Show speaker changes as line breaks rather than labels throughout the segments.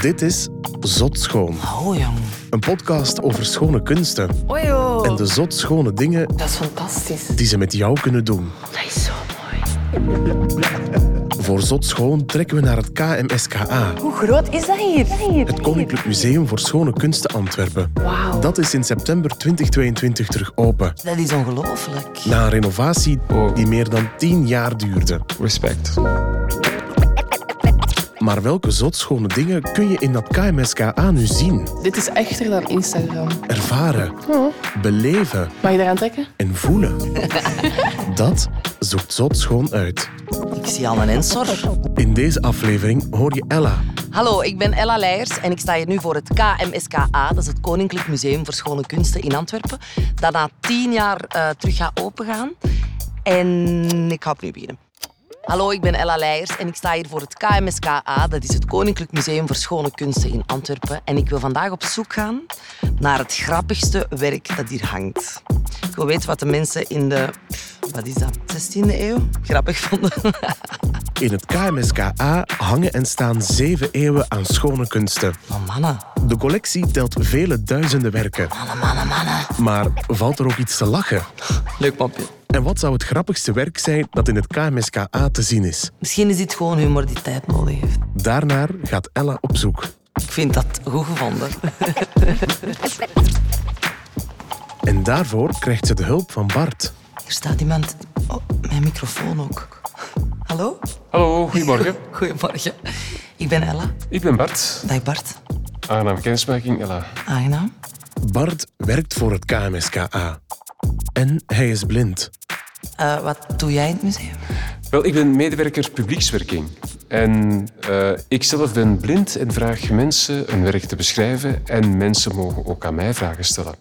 Dit is Zot Schoon.
Oh jong,
Een podcast over schone kunsten
Oei, joh.
en de zot schone dingen
Dat is fantastisch.
die ze met jou kunnen doen.
Dat is zo mooi.
Voor Zot Schoon trekken we naar het KMSKA,
Hoe groot is dat hier?
het Koninklijk Museum voor Schone Kunsten Antwerpen.
Wauw.
Dat is in september 2022 terug open,
Dat is ongelooflijk.
na een renovatie
Wow.
die meer dan 10 jaar duurde.
Respect.
Maar welke zot schone dingen kun je in dat KMSKA nu zien,
Dit is echter dan Instagram.
ervaren, beleven
Mag je eraan trekken?
en voelen? Dat zoekt Zot Schoon uit.
Ik zie al een ensor.
In deze aflevering hoor je Ella,
Hallo, ik ben Ella Leijers en ik sta hier nu voor het KMSKA. Dat is het Koninklijk Museum voor Schone Kunsten in Antwerpen. Dat na tien jaar eh, terug gaat opengaan. En ik ga opnieuw beginnen. Hallo, ik ben Ella Leijers en ik sta hier voor het KMSKA. Dat is het Koninklijk Museum voor Schone Kunsten in Antwerpen. En ik wil vandaag op zoek gaan naar het grappigste werk dat hier hangt. Ik wil weten wat de mensen in de, wat is dat, 16e eeuw grappig vonden. Oh,
In het KMSKA hangen en staan zeven eeuwen aan schone kunsten.
Oh, mannen,
De collectie telt vele duizenden werken.
mannen, mannen, mannen.
Maar valt er ook iets te lachen?
Leuk papje.
En wat zou het grappigste werk zijn dat in het KMSKA te zien is?
Misschien is dit gewoon humor die tijd nodig heeft.
Daarnaar gaat Ella op zoek.
Ik vind dat goed gevonden.
En daarvoor krijgt ze de hulp van Bart.
Hier staat iemand. Oh, mijn microfoon ook. Hallo?
Hallo, goedemorgen.
Goedemorgen. Ik ben Ella.
Ik ben Bart.
Dag Bart.
Aangename kennismaking, Ella.
Aangenaam.
Bart werkt voor het KMSKA. En hij is blind.
Eh, wat doe jij in het museum?
Wel, ik ben medewerker publiekswerking. En eh ik zelf ben blind en vraag mensen een werk te beschrijven. En mensen mogen ook aan mij vragen stellen.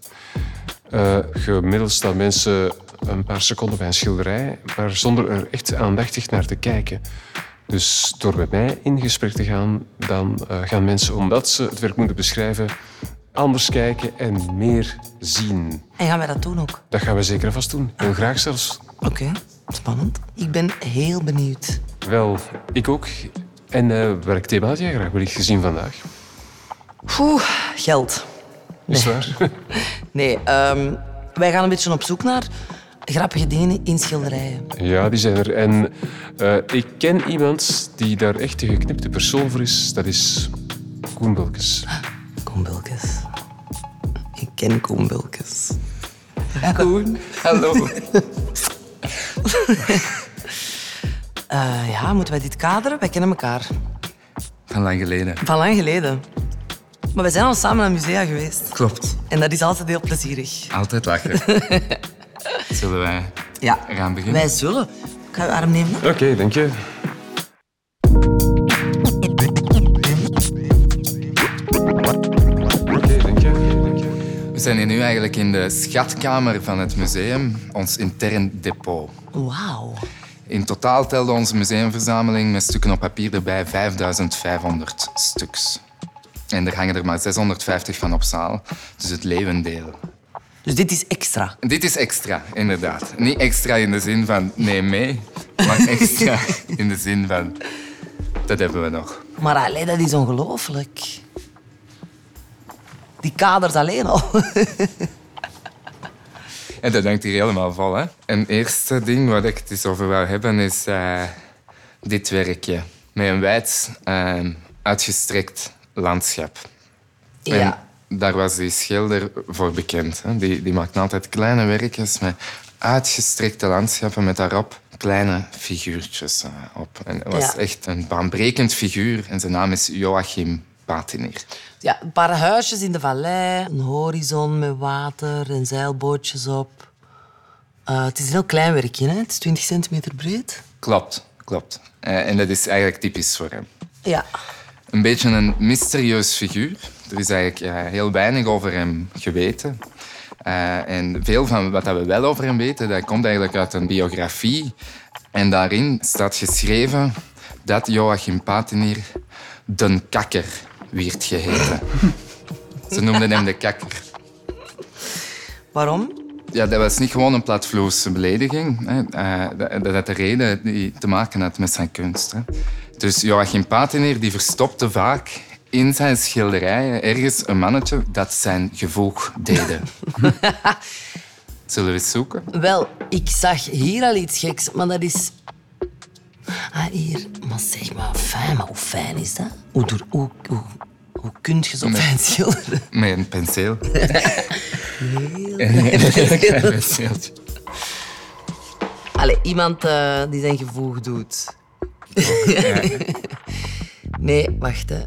Eh gemiddeld staan mensen een paar seconden bij een schilderij, maar zonder er echt aandachtig naar te kijken. Dus door met mij in gesprek te gaan, dan eh, gaan mensen, omdat ze het werk moeten beschrijven, anders kijken en meer zien.
En gaan wij dat doen ook?
Dat gaan we zeker en vast doen. Heel graag zelfs.
Oké, spannend. Ik ben heel benieuwd.
Wel, ik ook. En eh, welk thema had jij graag wellicht gezien vandaag?
Oeh, geld.
Is het waar?
Nee, ehm, wij gaan een beetje op zoek naar grappige dingen in schilderijen.
ja, die zijn er. En eh, ik ken iemand die daar echt de geknipte persoon voor is. Dat is Koen Wilkes.
Koen Bulkes. Ik ken Koen Bulkes.
Koen, hallo.
Eh, ja, moeten wij dit kaderen? Wij kennen elkaar.
Van lang geleden.
Van lang geleden. Maar we zijn al samen naar musea geweest.
Klopt.
En dat is altijd heel plezierig.
Altijd lachen. Zullen wij
Ja.
gaan beginnen?
Wij zullen. Ik ga je arm nemen.
Oké, dank je. Oké, dank je. Dank je.
We zijn hier nu eigenlijk in de schatkamer van het museum, ons intern depot.
Wauw.
In totaal telde onze museumverzameling met stukken op papier erbij 5500 stuks. En er hangen er maar 650 van op zaal, dus het leeuwendeel.
Dus dit is extra.
Dit is extra, inderdaad. Niet extra in de zin van neem mee, maar extra in de zin van dat hebben we nog.
Maar allee, dat is ongelooflijk. Die kaders alleen al.
En dat hangt hier helemaal vol, hè? Een eerste ding wat ik het eens over wil hebben is eh, dit werkje. Met een wijd eh, uitgestrekt landschap.
Ja.
En daar was die schilder voor bekend. Hè? Die, die maakte altijd kleine werkjes met uitgestrekte landschappen met daarop kleine figuurtjes eh, op. En dat was
Ja.
echt een baanbrekend figuur en zijn naam is Joachim Patinier.
ja, een paar huisjes in de vallei, een horizon met water en zeilbootjes op. Eh, het is een heel klein werkje, hè? het is 20 centimeter breed.
Klopt, klopt. Eh, en dat is eigenlijk typisch voor hem.
Ja.
een beetje een mysterieus figuur. Er is eigenlijk eh, heel weinig over hem geweten. Eh, en veel van wat dat we wel over hem weten, dat komt eigenlijk uit een biografie. En daarin staat geschreven dat Joachim Patinier de kakker wierd geheten. Ze noemden hem de kakker.
Waarom?
ja, dat was niet gewoon een platvloerse belediging. Hè. Eh, dat, dat had de reden die te maken had met zijn kunst. Hè. Dus Joachim Patinier die verstopte vaak in zijn schilderijen ergens een mannetje dat zijn gevoeg deden. Zullen we eens zoeken?
Wel, ik zag hier al iets geks, maar dat is... Ah, hier. Maar zeg maar, fijn, maar hoe fijn is dat? Hoe, doe- hoe, hoe, hoe kun je zo fijn schilderen?
Met een penseel. Penseeltje.
Allee, iemand eh, die zijn gevoeg doet. nee, wacht. Hè.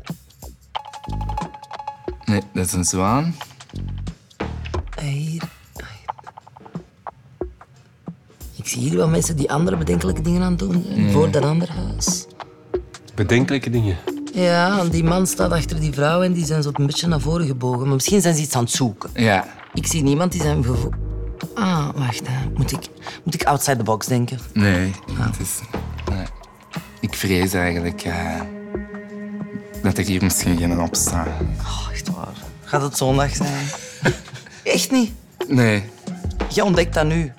Nee, dat is een zwaan.
Ah, Hier. Ik zie hier wel mensen die andere bedenkelijke dingen aan doen hè, voor dat ander huis.
Bedenkelijke dingen.
Ja, want die man staat achter die vrouw en die zijn zo een beetje naar voren gebogen. Maar misschien zijn ze iets aan het zoeken.
Ja.
Ik zie niemand die zijn gevoel. Ah, wacht. Hè. Moet, ik, moet ik outside the box denken?
Nee, het is... nee. Ik vrees eigenlijk eh, dat er hier misschien geen op staat.
Oh, echt waar. Gaat het zondag zijn? Echt niet.
Nee,
Je ontdekt dat nu.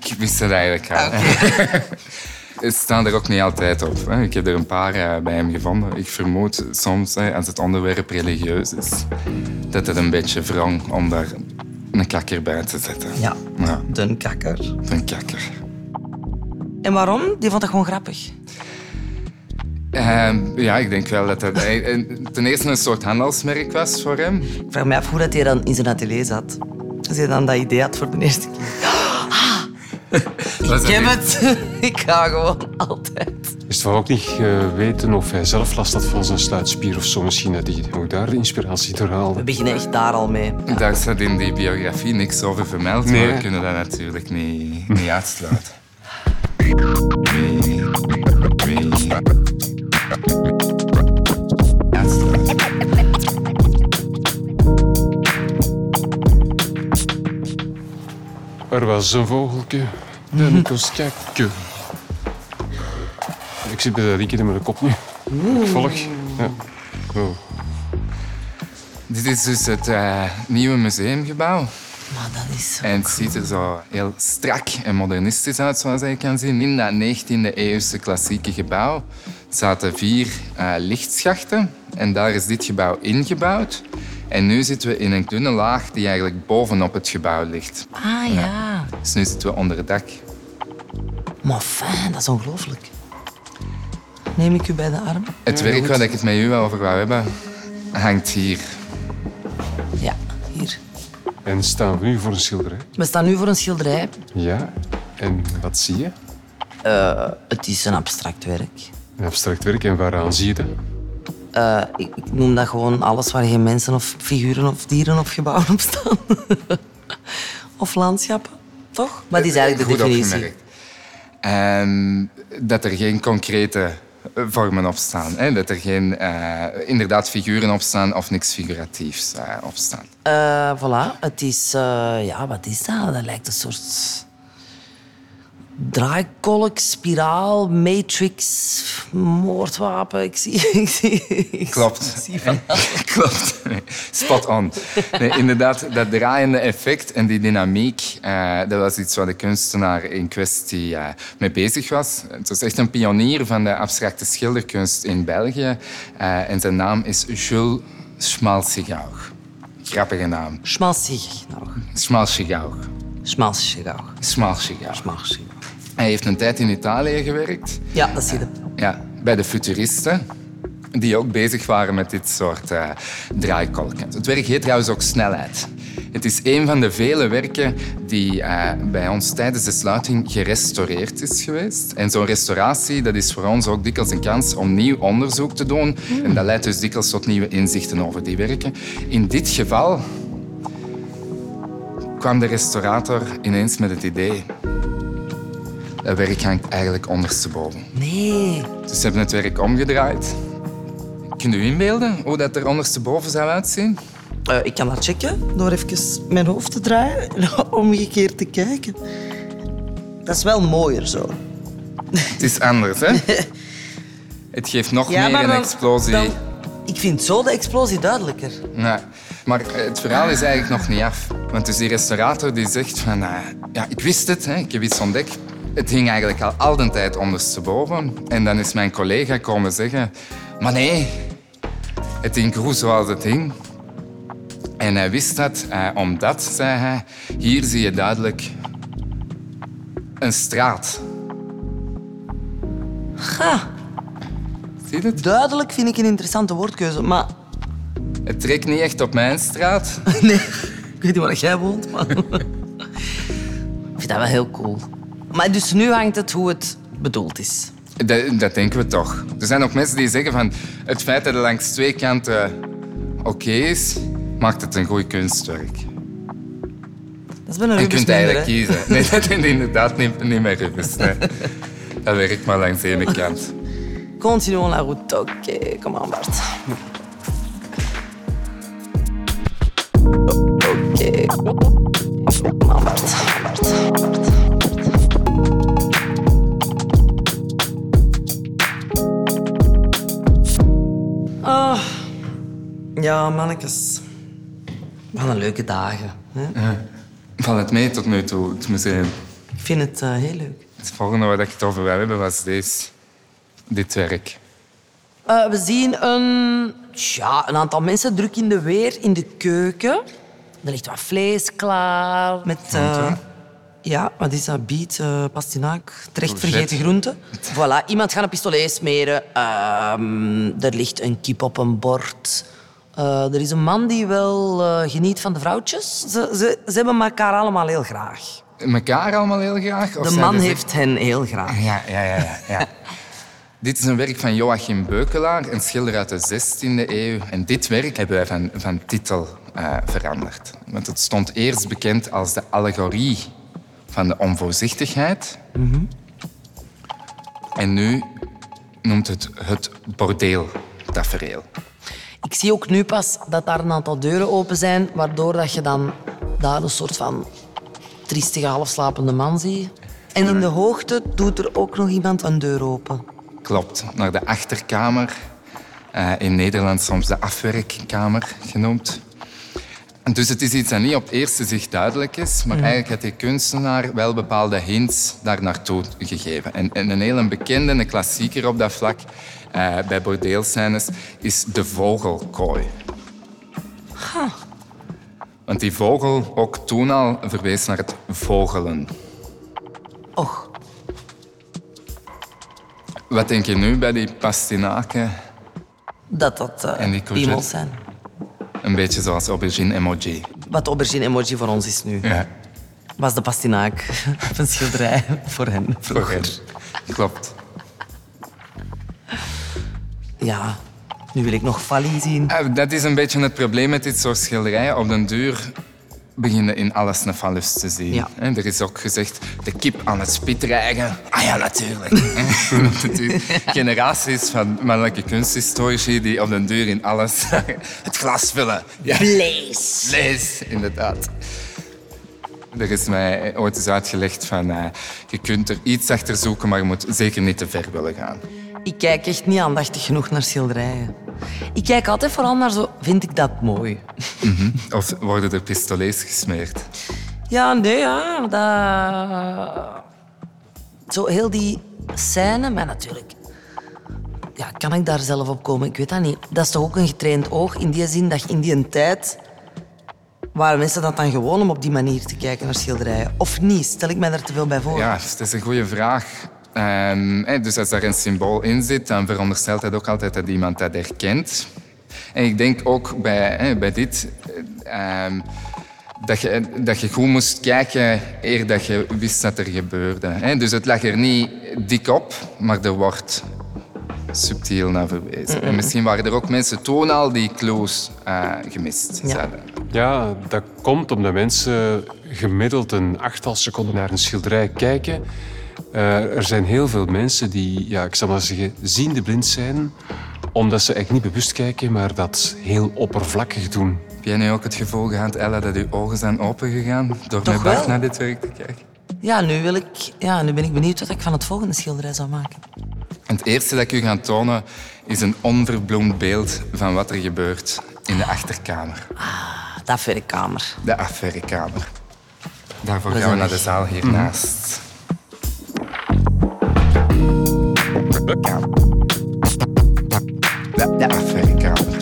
Ik wist dat eigenlijk al. Ze staan er ook niet altijd op. Hè. Ik heb er een paar eh, bij hem gevonden. Ik vermoed soms, hè, als het onderwerp religieus is, dat het een beetje wrong om daar een kakker bij te zetten.
Ja.
Ja,
Dun kakker.
een kakker.
En waarom? Die vond dat gewoon grappig.
Ehm, ja, ik denk wel dat dat eh, eh, ten eerste een soort handelsmerk was voor hem.
Ik vraag me af hoe dat hij dan in zijn atelier zat. Als hij dan dat idee had voor de eerste keer.
Was
Ik
dat
heb
niet-
het. Ik ga gewoon altijd.
Is het wel ook niet eh, weten of hij zelf last had van zijn sluitspier of zo? Misschien dat hij ook daar de inspiratie door haalde.
We beginnen echt daar al mee.
Daar staat in die biografie niks over vermeld, maar
Nee.
we kunnen dat natuurlijk niet, niet uitsluiten. Uitsluiten.
Er was een vogeltje, een koskakje. Ik zit bij dat riekje met de kop nu. Ik volg. Ja. Oh.
Dit is dus het eh, nieuwe museumgebouw.
Maar dat is zo.
En het ziet er zo heel strak en modernistisch uit, zoals je kan zien. In dat 19e-eeuwse klassieke gebouw zaten vier eh, lichtschachten. En daar is dit gebouw ingebouwd. En nu zitten we in een dunne laag die eigenlijk bovenop het gebouw ligt.
Ah ja.
Dus nu zitten we onder het dak.
Maar fijn, dat is ongelooflijk. Neem ik u bij de arm?
Het werk waar ik het met u over wou hebben, hangt hier.
Ja, hier.
En staan we nu voor een schilderij?
We staan nu voor een schilderij.
Ja. En wat zie je?
Eh, Het is een abstract werk.
Een abstract werk. En waaraan zie je dat?
Eh, ik, ik noem dat gewoon alles waar geen mensen of figuren of dieren of gebouwen op staan. of landschappen, toch? Maar die is eigenlijk de
Goed
definitie.
opgemerkt. Ehm, dat er geen concrete eh, vormen op staan. Hè? Dat er geen eh, inderdaad figuren op staan of niks figuratiefs eh, op staan.
Eh, voilà, het is... eh, ja, wat is dat? Dat lijkt een soort... Draaikolk, spiraal, matrix, moordwapen. Ik zie... Ik zie ik
Klopt.
zie van-
Klopt. Nee, Spot on. Nee, inderdaad, dat draaiende effect en die dynamiek, eh, dat was iets waar de kunstenaar in kwestie eh, mee bezig was. Het was echt een pionier van de abstracte schilderkunst in België. Eh, en zijn naam is Jules Schmalzigaug. Grappige naam.
Schmalsig nog.
Schmalzigaug.
Schmalsig nog.
Schmalzigaug.
Schmalsig.
Hij heeft een tijd in Italië gewerkt.
Ja, dat zie je.
Ja, bij de futuristen. Die ook bezig waren met dit soort eh, draaikolken. Het werk heet trouwens ook Snelheid. Het is een van de vele werken die eh, bij ons tijdens de sluiting gerestaureerd is geweest. En zo'n restauratie dat is voor ons ook dikwijls een kans om nieuw onderzoek te doen. En dat leidt dus dikwijls tot nieuwe inzichten over die werken. In dit geval kwam de restaurator ineens met het idee... Dat werk hangt eigenlijk ondersteboven.
Nee.
Dus ze hebben het werk omgedraaid. Kunt u inbeelden hoe dat er ondersteboven zou uitzien?
Eh, ik kan dat checken door even mijn hoofd te draaien en omgekeerd te kijken. Dat is wel mooier zo.
Het is anders, hè? het geeft nog meer een explosie.
ik vind zo de explosie duidelijker.
Ja. Maar Maar eh, het verhaal is eigenlijk nog niet af. Want dus die restaurator die zegt van... eh, ja, ik wist het, hè, ik heb iets ontdekt. Het ging eigenlijk al al de tijd ondersteboven. En dan is mijn collega komen zeggen... Maar nee, het hing goed zoals het hing. En hij wist dat eh, omdat, zei hij... Hier zie je duidelijk een straat.
Ga.
Zie je het?
Duidelijk vind ik een interessante woordkeuze, maar
Het trekt niet echt op mijn straat.
Nee, ik weet niet waar jij woont, maar... ik vind dat wel heel cool. Maar dus nu hangt het hoe het bedoeld is.
Dat, dat denken we toch. Er zijn ook mensen die zeggen van het feit dat het langs twee kanten oké is, maakt het een goed kunstwerk.
Dat is bijna
Je
Rubens
kunt
minder,
eigenlijk
hè?
kiezen. Nee, dat is inderdaad niet, niet meer Rubens. nee. Dat werkt maar langs de ene kant.
Continuons la route. Oké, kom aan, Bart. Oké. Kom aan, Bart. Bart. Bart. Ah. Ja, mannetjes. Wat een leuke dagen. Hè?
Valt het mee tot nu toe, het museum?
Ik vind het eh, heel leuk.
Het volgende waar ik het over wil hebben was deze. Dit werk.
Eh, we zien een, ja, een aantal mensen druk in de weer in de keuken. Er ligt wat vlees klaar. Met, eh, ja, wat is dat? Biet, eh, pastinaak, terecht
Courgette.
vergeten groenten. Voilà, iemand gaat een pistolet smeren. Ehm, er ligt een kip op een bord. Eh, er is een man die wel eh, geniet van de vrouwtjes. Ze, ze, ze hebben elkaar allemaal heel graag.
Mekaar allemaal heel graag? of
De
zijn
man
er-
heeft hen heel graag.
Ah, Ja, ja, ja. ja, ja. dit is een werk van Joachim Beukelaar, een schilder uit de 16e eeuw. En dit werk hebben wij van, van titel eh, veranderd. Want het stond eerst bekend als de allegorie van de onvoorzichtigheid. En nu noemt het het bordeeltafereel.
Ik zie ook nu pas dat daar een aantal deuren open zijn, waardoor dat je dan daar een soort van triestige, halfslapende man ziet. En in de hoogte doet er ook nog iemand een deur open.
Klopt, naar de achterkamer. eh, in Nederland soms de afwerkkamer genoemd. En Dus het is iets dat niet op het eerste zicht duidelijk is, maar eigenlijk heeft die kunstenaar wel bepaalde hints daar naartoe gegeven. En, en een hele bekende, een klassieker op dat vlak eh, bij bordeelscènes, is de vogelkooi. Want die vogel ook toen al verwees naar het vogelen.
Och,
Wat denk je nu bij die pastinaken?
dat dat eh,
En die courgette.
piemels zijn.
Een beetje zoals aubergine emoji.
Wat de aubergine emoji voor ons is nu,
Ja,
was de pastinaak op een schilderij voor hen vroeger.
correct. Klopt.
Ja, nu wil ik nog Fally zien.
Eh, Dat is een beetje het probleem met dit soort schilderijen. Op den duur beginnen in alles een fallus te zien.
Ja.
En er is ook gezegd, de kip aan het spit rijgen. Ah ja, natuurlijk. En op den duur Generaties van mannelijke kunsthistorici die op den duur in alles het glas vullen. Ja.
Vlees.
Vlees, inderdaad. Er is mij ooit eens uitgelegd van, eh, je kunt er iets achter zoeken, maar je moet zeker niet te ver willen gaan.
Ik kijk echt niet aandachtig genoeg naar schilderijen. Ik kijk altijd vooral naar zo, vind ik dat mooi?
Of worden er pistolets gesmeerd?
Ja, nee, ja. Dat... Zo heel die scène, maar natuurlijk... Ja, kan ik daar zelf op komen? Ik weet dat niet. Dat is toch ook een getraind oog in die zin dat je in die tijd... Waren mensen dat dan gewoon om op die manier te kijken naar schilderijen? Of niet? Stel ik mij daar te veel bij voor?
Ja, dat is een goede vraag. Ehm, hè, dus als daar een symbool in zit, dan veronderstelt dat ook altijd dat iemand dat herkent. En ik denk ook bij, hè, bij dit eh, ehm, dat, je, dat je goed moest kijken eer dat je wist dat er gebeurde. Hè. Dus het lag er niet dik op, maar er wordt subtiel naar verwezen. En misschien waren er ook mensen toen al die clues eh, gemist.
Ja.
zouden.
Ja, dat komt omdat mensen gemiddeld een achttal seconden naar een schilderij kijken. Eh, er zijn heel veel mensen die, ja, ik zal maar zeggen, ziende blind zijn, omdat ze eigenlijk niet bewust kijken, maar dat heel oppervlakkig doen.
Heb jij nu ook het gevoel gehad, Ella, dat je ogen zijn opengegaan door
Toch
met Bart
wel?
naar dit werk te kijken?
Ja, nu, wil ik, ja, nu ben ik benieuwd wat ik van het volgende schilderij zou maken.
En Het eerste dat ik u ga tonen is een onverbloemd beeld van wat er gebeurt in de achterkamer,
Ah, Dat verrekkamer.
de affairekamer. Daarvoor gaan we naar de zaal
Mhm.
hiernaast. De, de affairekamer.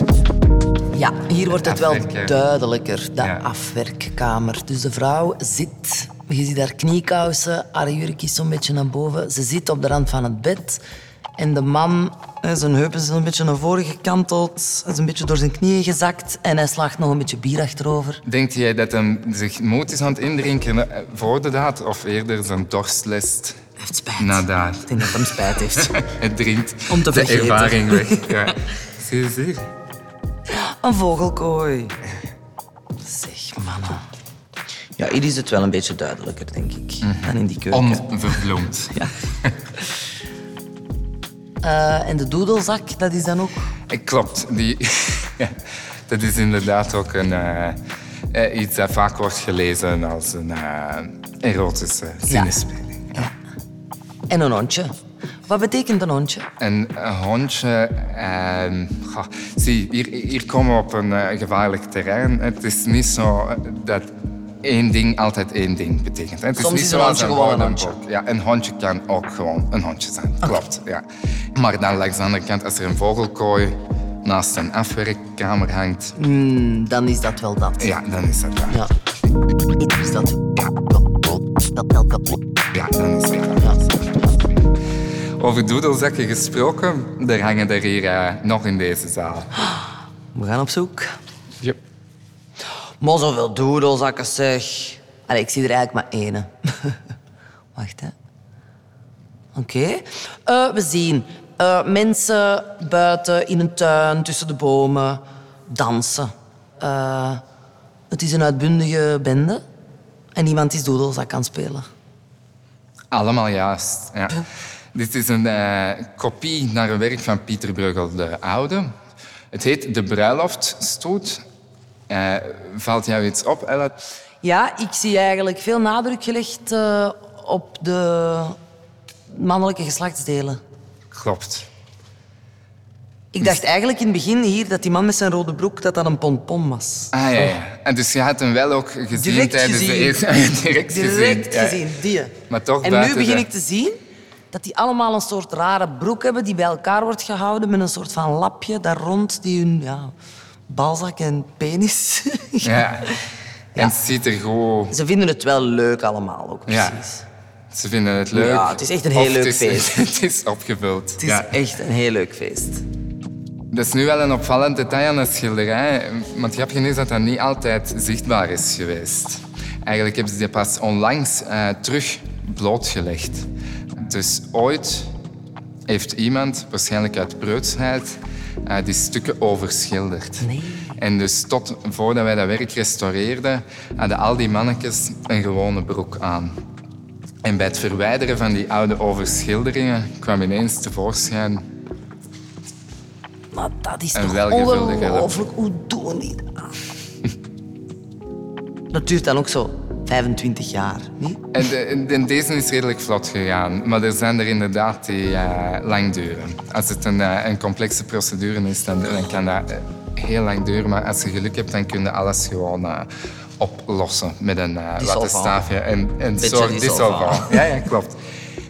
Ja, hier wordt het wel
afwerken.
duidelijker, de
Ja.
afwerkkamer. Dus de vrouw zit, je ziet haar kniekousen, haar jurk is zo'n beetje naar boven. Ze zit op de rand van het bed. En de man, hè, zijn heupen zijn een beetje naar voren gekanteld. Hij is een beetje door zijn knieën gezakt. En hij slaagt nog een beetje bier achterover.
Denkt jij dat hem zich moed is aan het indrinken eh, voor de daad of eerder zijn dorst lest
Hij heeft spijt.
na daad?
Ik denk dat hij hem spijt heeft.
Het drinkt
Om te
de
vergeten.
ervaring weg. Ja. Zie je, zie je?
Een vogelkooi. Zeg, mannen. Ja, hier is het wel een beetje duidelijker, denk ik,
Mhm.
dan in die keuken.
Onverbloemd.
Eh, en de doedelzak, dat is dan ook...
Eh, Klopt. Die, ja, dat is inderdaad ook een, eh, eh, iets dat vaak wordt gelezen als een eh, erotische zinnenspeling.
En een hondje. Wat betekent een hondje?
Een eh, hondje. ehm, goh, zie, hier, hier komen we op een eh, gevaarlijk terrein. Het is niet zo eh, dat één ding altijd één ding betekent. hè. Het
Soms
niet
is een
zoals
hondje gewoon een
woordenboek. Ja, een hondje kan ook gewoon een hondje zijn. Klopt. Ja. Maar dan langs de andere kant, als er een vogelkooi naast een afwerkkamer hangt,
Dan is dat wel dat.
ja, dan is dat daar.
Ja. Is dat...
Ja, dan is het
Ja.
Over doedelzakken gesproken, er hangen er hier eh, nog in deze zaal.
We gaan op zoek.
Ja.
Maar zoveel doedelzakken, zeg. Allee, ik zie er eigenlijk maar één. Wacht, hè. Oké. Eh, we zien eh, mensen buiten, in een tuin, tussen de bomen, dansen. Eh, het is een uitbundige bende. En iemand is doedelzak aan het spelen.
Allemaal juist. Ja. Dit is een eh, kopie naar een werk van Pieter Bruegel de Oude. Het heet De Bruiloftstoet. Eh, valt jou iets op, Ella?
Ja, ik zie eigenlijk veel nadruk gelegd eh, op de mannelijke geslachtsdelen.
Klopt.
Ik dacht eigenlijk in het begin hier dat die man met zijn rode broek dat dat een pompon was.
Ah ja, ja. En dus je had hem wel ook gezien
Direct
tijdens
gezien.
de eerste... Direct,
Direct
ja.
gezien, die.
Maar toch
en nu
buiten
begin
de-
ik te zien dat die allemaal een soort rare broek hebben die bij elkaar wordt gehouden met een soort van lapje daar rond die hun ja, balzak en penis.
Ja. En het ziet er goed...
Ze vinden het wel leuk allemaal ook,
Ja.
precies.
Ze vinden het leuk.
Ja, het is echt een
Of
heel leuk
het is-
feest.
Het is opgevuld.
Het is
ja.
echt een heel leuk feest.
Dat is nu wel een opvallend detail aan een schilderij, want het grappige is dat dat niet altijd zichtbaar is geweest. Eigenlijk hebben ze die pas onlangs eh, terug blootgelegd. Dus ooit heeft iemand, waarschijnlijk uit preutsheid, eh, die stukken overschilderd. En dus tot voordat wij dat werk restaureerden, hadden al die mannetjes een gewone broek aan. En bij het verwijderen van die oude overschilderingen kwam ineens tevoorschijn
Maar dat is
Een
toch
welgevulde
ongelooflijk. Hoe doen die dat? dat duurt dan ook zo 25 jaar, niet?
En, de, en deze is redelijk vlot gegaan, maar er zijn er inderdaad die eh, lang duren. Als het een, eh, een complexe procedure is, dan, dan kan dat eh, heel lang duren. Maar als je geluk hebt, dan kun je alles gewoon eh, oplossen met een eh
Dissolvant.
wattenstaafje. En, en
Beetje
soort dissolvant.
dissolvant.
Ja, ja, klopt.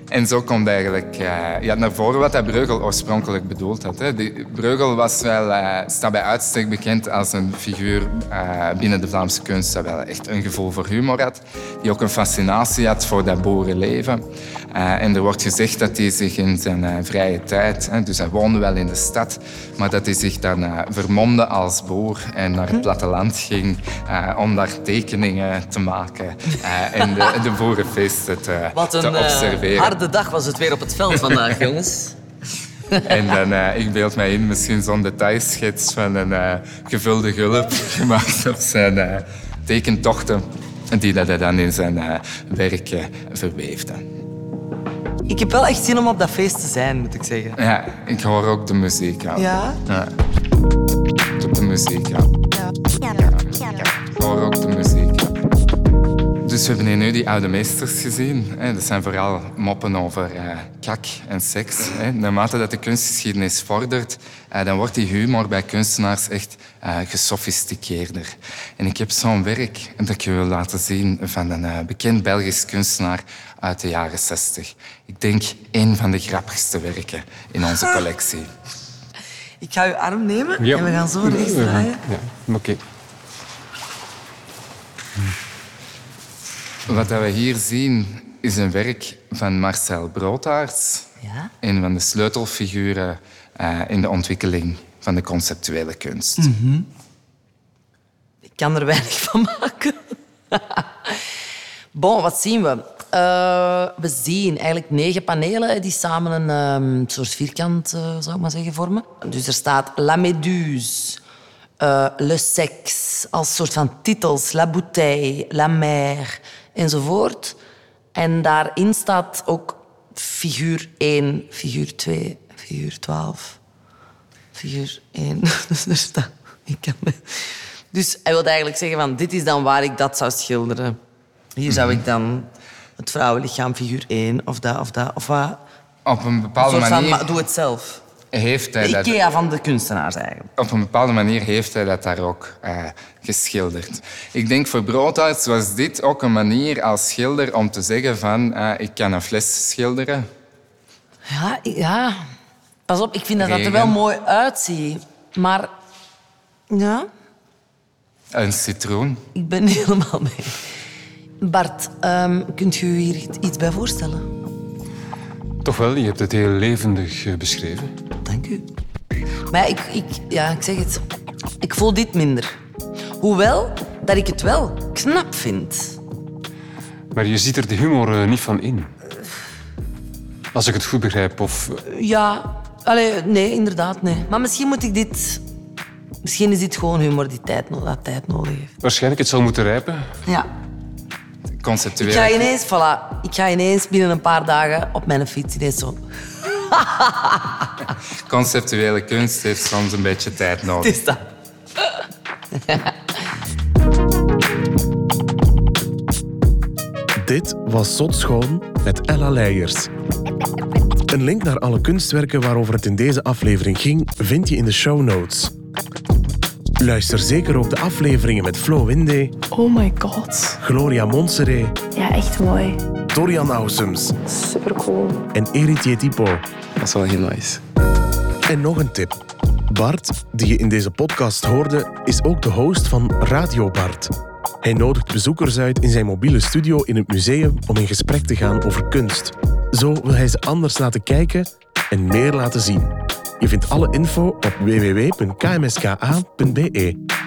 En zo komt eigenlijk eh, ja, naar voren wat dat Breugel oorspronkelijk bedoeld had. Hè. Die, Breugel was wel, eh, staat bij uitstek bekend als een figuur eh, binnen de Vlaamse kunst dat wel echt een gevoel voor humor had. Die ook een fascinatie had voor dat boerenleven. Eh, en er wordt gezegd dat hij zich in zijn eh, vrije tijd, hè, dus hij woonde wel in de stad, maar dat hij zich dan eh, vermomde als boer en naar
Hm?
het platteland ging eh, om daar tekeningen te maken eh, en de, de boerenfeesten te,
Wat
te
een eh,
observeren.
harde dag was het weer op het veld vandaag, jongens.
En dan, eh, ik beeld mij in, misschien zo'n detailschets van een eh, gevulde gulp gemaakt op zijn eh, tekentochten, die dat hij dan in zijn eh, werk eh, verweefde.
Ik heb wel echt zin om op dat feest te zijn, moet ik zeggen.
Ja, ik hoor ook de muziek aan.
Ja?
De muziek aan. Ik hoor ook de muziek aan. Dus we hebben hier nu die oude meesters gezien. hè. Dat zijn vooral moppen over eh, kak en seks. hè. Naarmate dat de kunstgeschiedenis vordert, eh, dan wordt die humor bij kunstenaars echt eh, gesofisticeerder. En ik heb zo'n werk dat ik je wil laten zien van een eh, bekend Belgisch kunstenaar uit de jaren 60. Ik denk één van de grappigste werken in onze collectie.
Ik ga uw arm nemen
Ja.
en we gaan zo rechts
Ja,
draaien.
Ja, oké.
Wat dat we hier zien is een werk van Marcel Broodhaars.
Ja.
Een van de sleutelfiguren eh, in de ontwikkeling van de conceptuele kunst.
Mhm. Ik kan er weinig van maken. bon, wat zien we? Eh, we zien eigenlijk negen panelen die samen een ehm, soort vierkant, eh, zou ik maar zeggen, vormen. Dus er staat La Méduse, eh, Le Sex als soort van titels, La Bouteille, La Mer enzovoort. En daarin staat ook figuur 1, figuur 2, figuur 12 figuur 1. Dus daar staat... Ik kan... Dus hij wil eigenlijk zeggen van, dit is dan waar ik dat zou schilderen. Hier zou ik dan het vrouwenlichaam, figuur 1, of dat, of dat, of wat.
Op een
Een
bepaalde
soort van,
manier
maar doe het zelf.
heeft hij
De
dat...
Ikea van de kunstenaars eigenlijk.
Op een bepaalde manier heeft hij dat daar ook eh, geschilderd. Ik denk voor Broodhaars was dit ook een manier als schilder om te zeggen van eh, ik kan een fles schilderen.
Ja, ik- ja. Pas op, ik vind dat dat er
Regen.
wel mooi uitziet. Maar ja,
Een citroen.
ik ben helemaal mee. Bart, ehm, kunt u hier iets bij voorstellen?
Toch wel, je hebt het heel levendig eh, beschreven.
Dank u. Maar ja, ik, ik, ja, ik zeg het. Ik voel dit minder. Hoewel dat ik het wel knap vind.
Maar je ziet er de humor eh, niet van in. Als ik het goed begrijp, of...
Ja, allee, nee, inderdaad, nee. Maar misschien moet ik dit... Misschien is dit gewoon humor die tijd, no- dat tijd nodig heeft.
Waarschijnlijk, het zal moeten rijpen.
Ja. Ik
Conceptueel.
ga ineens, voilà, ik ga ineens binnen een paar dagen op mijn fiets ineens zo...
Conceptuele kunst heeft soms een beetje tijd nodig.
Het is dat.
Dit was Zot Schoon met Ella Leijers. Een link naar alle kunstwerken waarover het in deze aflevering ging, vind je in de show notes. Luister zeker ook de afleveringen met Flo Winde,
Oh my god.
Gloria Monseré,
Ja, echt mooi.
Dorian Ausums
Super cool.
en Eritje Tipo.
Dat is wel heel nice.
En nog een tip. Bart, die je in deze podcast hoorde, is ook de host van Radio Bart. Hij nodigt bezoekers uit in zijn mobiele studio in het museum om in gesprek te gaan over kunst. Zo wil hij ze anders laten kijken en meer laten zien. Je vindt alle info op www.kmska.be.